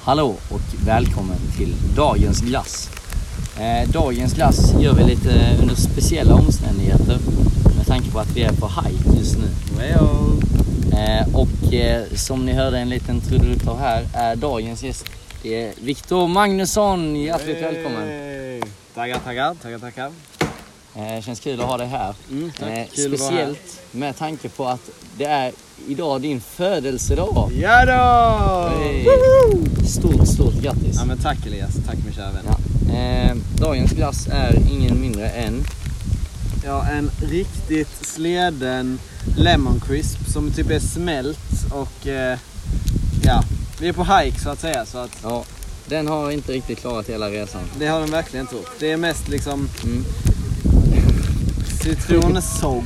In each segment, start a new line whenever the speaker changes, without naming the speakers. Hallå och välkommen till dagens glass. Eh, dagens glass gör vi lite eh, under speciella omständigheter med tanke på att vi är på hajk just nu. Eh, och eh, som ni hörde en liten trudelutt av här är dagens gäst det är Viktor Magnusson. Hjärtligt välkommen.
Hey. Tackar, tackar, tackar, tackar.
Eh, känns kul att ha dig här.
Mm, tack.
Eh,
Kul att vara här.
speciellt med tanke på att det är idag din födelsedag.
Ja då!
Hey. Stort, stort grattis.
Ja men tack Elias, tack min kära vän.
Ja. Eh, dagens glass är ingen mindre än...
Ja, en riktigt sleden lemon crisp som typ är smält och eh, ja, vi är på hike så att säga så att
Ja, den har inte riktigt klarat hela resan.
det har den verkligen inte gjort. Det är mest liksom
Mm.
citronsåg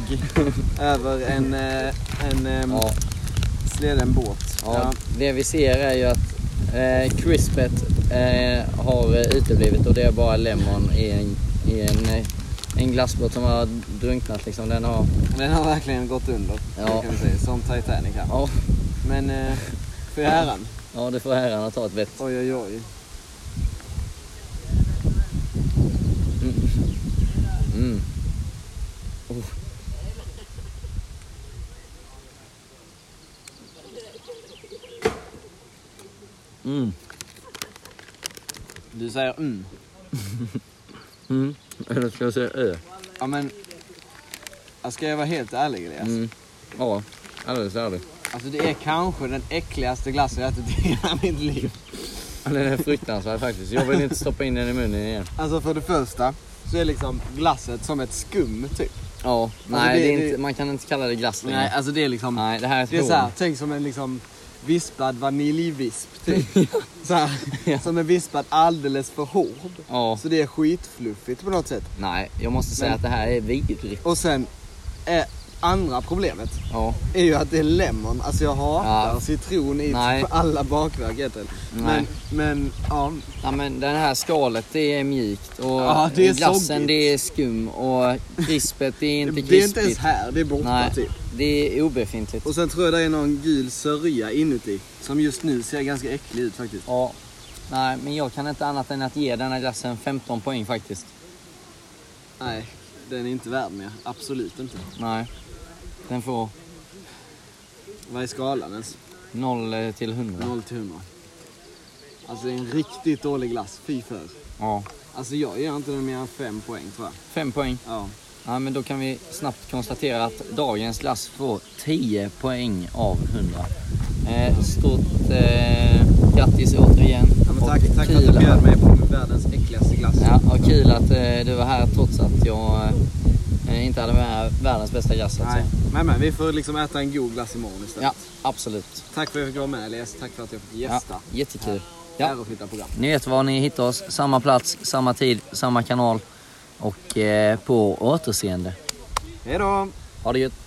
över en, eh, en ehm,
Ja,
sleden båt.
ja. Det vi ser är ju att eh, crispet eh, har eh, uteblivit och det är bara lemon i en, i en, eh, en glassbåt som har drunknat liksom. Den har...
Den har verkligen gått under,
Ja.
kan vi säga. Som Titanic här.
Ja,
Men eh, för äran.
ja det får herrarna att ta ett vett.
Oj, oj, oj.
Mm. Oh. Mm.
Du säger mm.
Mm. Eller ska jag säga ö?
Ja, men... Jag ska jag vara helt ärlig Elias?
Mm. Ja, alldeles ärligt.
Alltså det är kanske den äckligaste glassen jag ätit i hela mitt liv.
Ja, Den är fruktansvärd faktiskt. Jag vill inte stoppa in den i munnen igen.
Alltså för det första så är liksom glasset som ett skum typ.
Ja, nej
det-
Alltså, det, är
det-
inte, man kan inte kalla det glass längre.
Nej,
Nej,
alltså det är liksom...
det här är ett
Det är
hål.
så här, tänk som en liksom vispad vaniljvisp typ. så här,
Ja.
Som är vispad alldeles för hård.
Ja,
Så det är skitfluffigt på något sätt.
nej, jag måste säga
Men-
att det här är vidrigt.
Och sen, eh, andra problemet
Ja,
är ju att det är lemon. Alltså jag hatar
Ja.
citron i
Nej.
typ alla bakverk heter det. Men,
Nej.
men ja.
ja, men det här skalet det är mjukt och
Ja, det är
glassen
soggigt.
det är skum och krispet det är inte
Det är inte ens
krispigt.
här, det är borta
Nej,
typ.
det är obefintligt.
Och sen tror jag det är någon gul sörja inuti. Som just nu ser ganska äcklig ut faktiskt.
Ja, nej, men jag kan inte annat än att ge den här glassen 15 poäng faktiskt.
Nej, den är inte värd mer. Absolut inte.
Nej, den får
Vad är skalan ens?
0 eh, till 100.
0 till 100. Alltså det är en riktigt dålig glass. Fy för.
Ja,
Alltså jag ger inte den mer än 5 poäng tror jag.
5 poäng.
Ja.
Ja, men då kan vi snabbt konstatera att dagens glass får 10 poäng av 100. Eh, stort eh, grattis återigen.
Ja, men
Och
tack, tack för att
kul
du bjöd mig på världens äckligaste glass.
Ja, och kul att eh, du var här trots att jag eh, inte hade med världens bästa glass. så att
Nej,
säga.
men, men vi får liksom äta en god glass imorgon istället.
Ja, absolut.
Tack för att jag fick vara med Elias. Tack för att jag fick
Ja,
gästa.
jättekul. Ja.
Ja. Ärofyllt program.
Ni vet var ni hittar oss. Samma plats, samma tid, samma kanal. Och eh, på återseende.
Hej då!
Ha det gött.